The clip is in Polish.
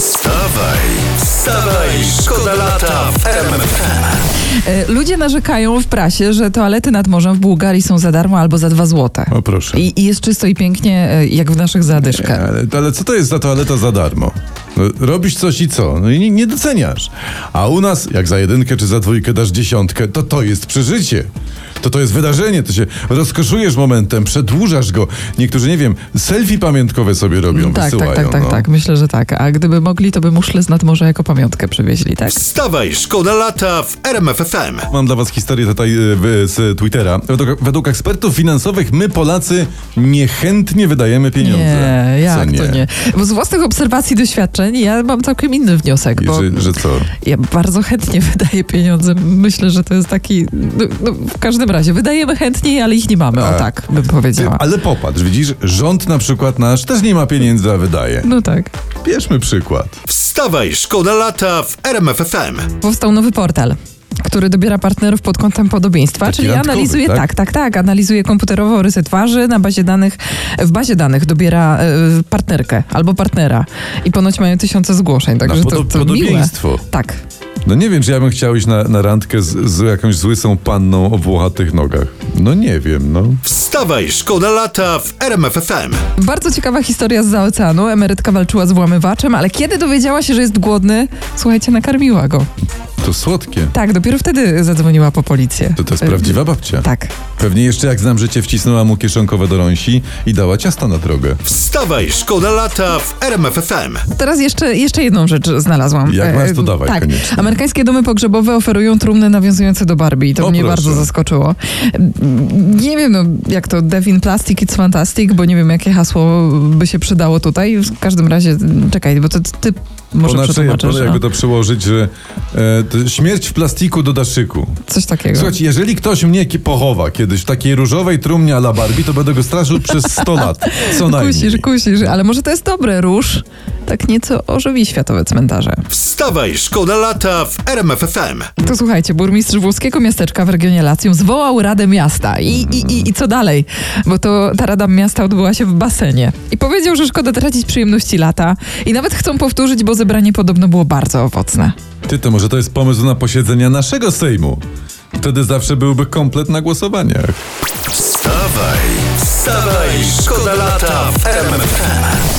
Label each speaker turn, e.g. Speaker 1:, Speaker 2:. Speaker 1: Wstawaj, wstawaj, szkoda lata w RMFFM.
Speaker 2: E, Ludzie narzekają w prasie, że toalety nad morzem w Bułgarii są za darmo albo za dwa złote.
Speaker 3: O proszę.
Speaker 2: I, I jest czysto i pięknie, e, jak w naszych zadyszkach.
Speaker 3: Ale, ale co to jest za toaleta za darmo? No, Robisz coś i co? No i nie, nie doceniasz. A u nas, jak za jedynkę czy za dwójkę dasz dziesiątkę, to to jest przeżycie. To to jest wydarzenie, to się rozkoszujesz momentem, przedłużasz go. Niektórzy, nie wiem, selfie pamiątkowe sobie robią,
Speaker 2: tak,
Speaker 3: wysyłają.
Speaker 2: tak, tak, tak,
Speaker 3: no.
Speaker 2: tak. Myślę, że tak. A gdyby mogli, to by muszle z nad morza jako pamiątkę przywieźli, tak?
Speaker 1: Wstawaj, szkoda lata w RMFFM.
Speaker 3: Mam dla was historię tutaj e, w- z Twittera. Według, według ekspertów finansowych my Polacy niechętnie wydajemy pieniądze.
Speaker 2: Nie,
Speaker 3: Co
Speaker 2: jak to nie? Bo z własnych obserwacji, doświadczeń ja mam całkiem inny wniosek,
Speaker 3: I
Speaker 2: bo
Speaker 3: Że, że co?
Speaker 2: ja bardzo chętnie wydaję pieniądze. Myślę, że to jest taki... No, no, w każdym razie, wydajemy chętniej, ale ich nie mamy, o
Speaker 3: Tak.
Speaker 2: tak bym powiedziała.
Speaker 3: Ale popatrz, widzisz, rząd na przykład nasz też nie ma pieniędzy, a wydaje.
Speaker 2: No tak.
Speaker 3: Bierzmy przykład.
Speaker 1: Wstawaj, szkoda lata w RMFFM.
Speaker 2: powstał nowy portal który dobiera partnerów pod kątem podobieństwa,
Speaker 3: Taki
Speaker 2: czyli
Speaker 3: randkowy,
Speaker 2: analizuje
Speaker 3: tak?
Speaker 2: tak? tak, tak, analizuje komputerowo rysy twarzy na bazie danych, w bazie danych dobiera e, partnerkę albo partnera i ponoć mają tysiące zgłoszeń, także
Speaker 3: podo-
Speaker 2: to, to miłe.
Speaker 3: podobieństwo.
Speaker 2: Tak.
Speaker 3: No nie wiem, czy ja bym chciał iść na, na randkę z, z jakąś złysą panną o włochatych nogach. No nie wiem, no.
Speaker 1: Wstawaj, szkoda lata w RMFFM.
Speaker 2: Bardzo ciekawa historia z zaoceanu. Emerytka walczyła z włamywaczem, ale kiedy dowiedziała się, że jest głodny, słuchajcie, nakarmiła go.
Speaker 3: To słodkie.
Speaker 2: Tak, dopiero wtedy zadzwoniła po policję.
Speaker 3: To to jest
Speaker 2: E,
Speaker 3: prawdziwa babcia.
Speaker 2: Tak.
Speaker 3: Pewnie jeszcze jak znam życie wcisnęła mu kieszonkowe do rąsi i dała ciasta na drogę.
Speaker 1: Wstawaj, szkoda lata w RMFFM.
Speaker 2: Teraz jeszcze, jeszcze jedną rzecz znalazłam.
Speaker 3: Jak
Speaker 2: E,
Speaker 3: masz, to dawaj
Speaker 2: tak.
Speaker 3: koniecznie.
Speaker 2: Amerykańskie domy pogrzebowe oferują trumny nawiązujące do Barbie i to
Speaker 3: O,
Speaker 2: mnie
Speaker 3: proszę.
Speaker 2: bardzo zaskoczyło. Mm, Nie wiem, no, jak to Devin Plastic It's Fantastic, bo nie wiem, jakie hasło by się przydało tutaj. W każdym razie mm, czekaj, bo to ty może
Speaker 3: Ponadto,
Speaker 2: przetłumaczysz. no.
Speaker 3: jakby to przełożyć, że e, to śmierć w plastiku do daszyku.
Speaker 2: no, Coś takiego.
Speaker 3: Słuchajcie, jeżeli ktoś mnie ki- pochowa kiedyś w takiej różowej trumnie a la Barbie, to będę go straszył przez 100 lat. Co najmniej.
Speaker 2: kusisz, kusisz, ale może to jest dobre, róż. Tak nieco ożywi światowe cmentarze.
Speaker 1: Wstawaj, szkoda lata w RMFFM.
Speaker 2: To słuchajcie, burmistrz włoskiego miasteczka w regionie Latium zwołał Radę Miasta. I, i, i, i co dalej? Bo to ta Rada Miasta odbyła się w basenie. I powiedział, że szkoda tracić przyjemności lata. I nawet chcą powtórzyć, bo zebranie podobno było bardzo owocne.
Speaker 3: Ty, to może to jest pomysł na posiedzenia naszego Sejmu. Wtedy zawsze byłby komplet na głosowaniach.
Speaker 1: Wstawaj, wstawaj, szkoda lata w RMFFM.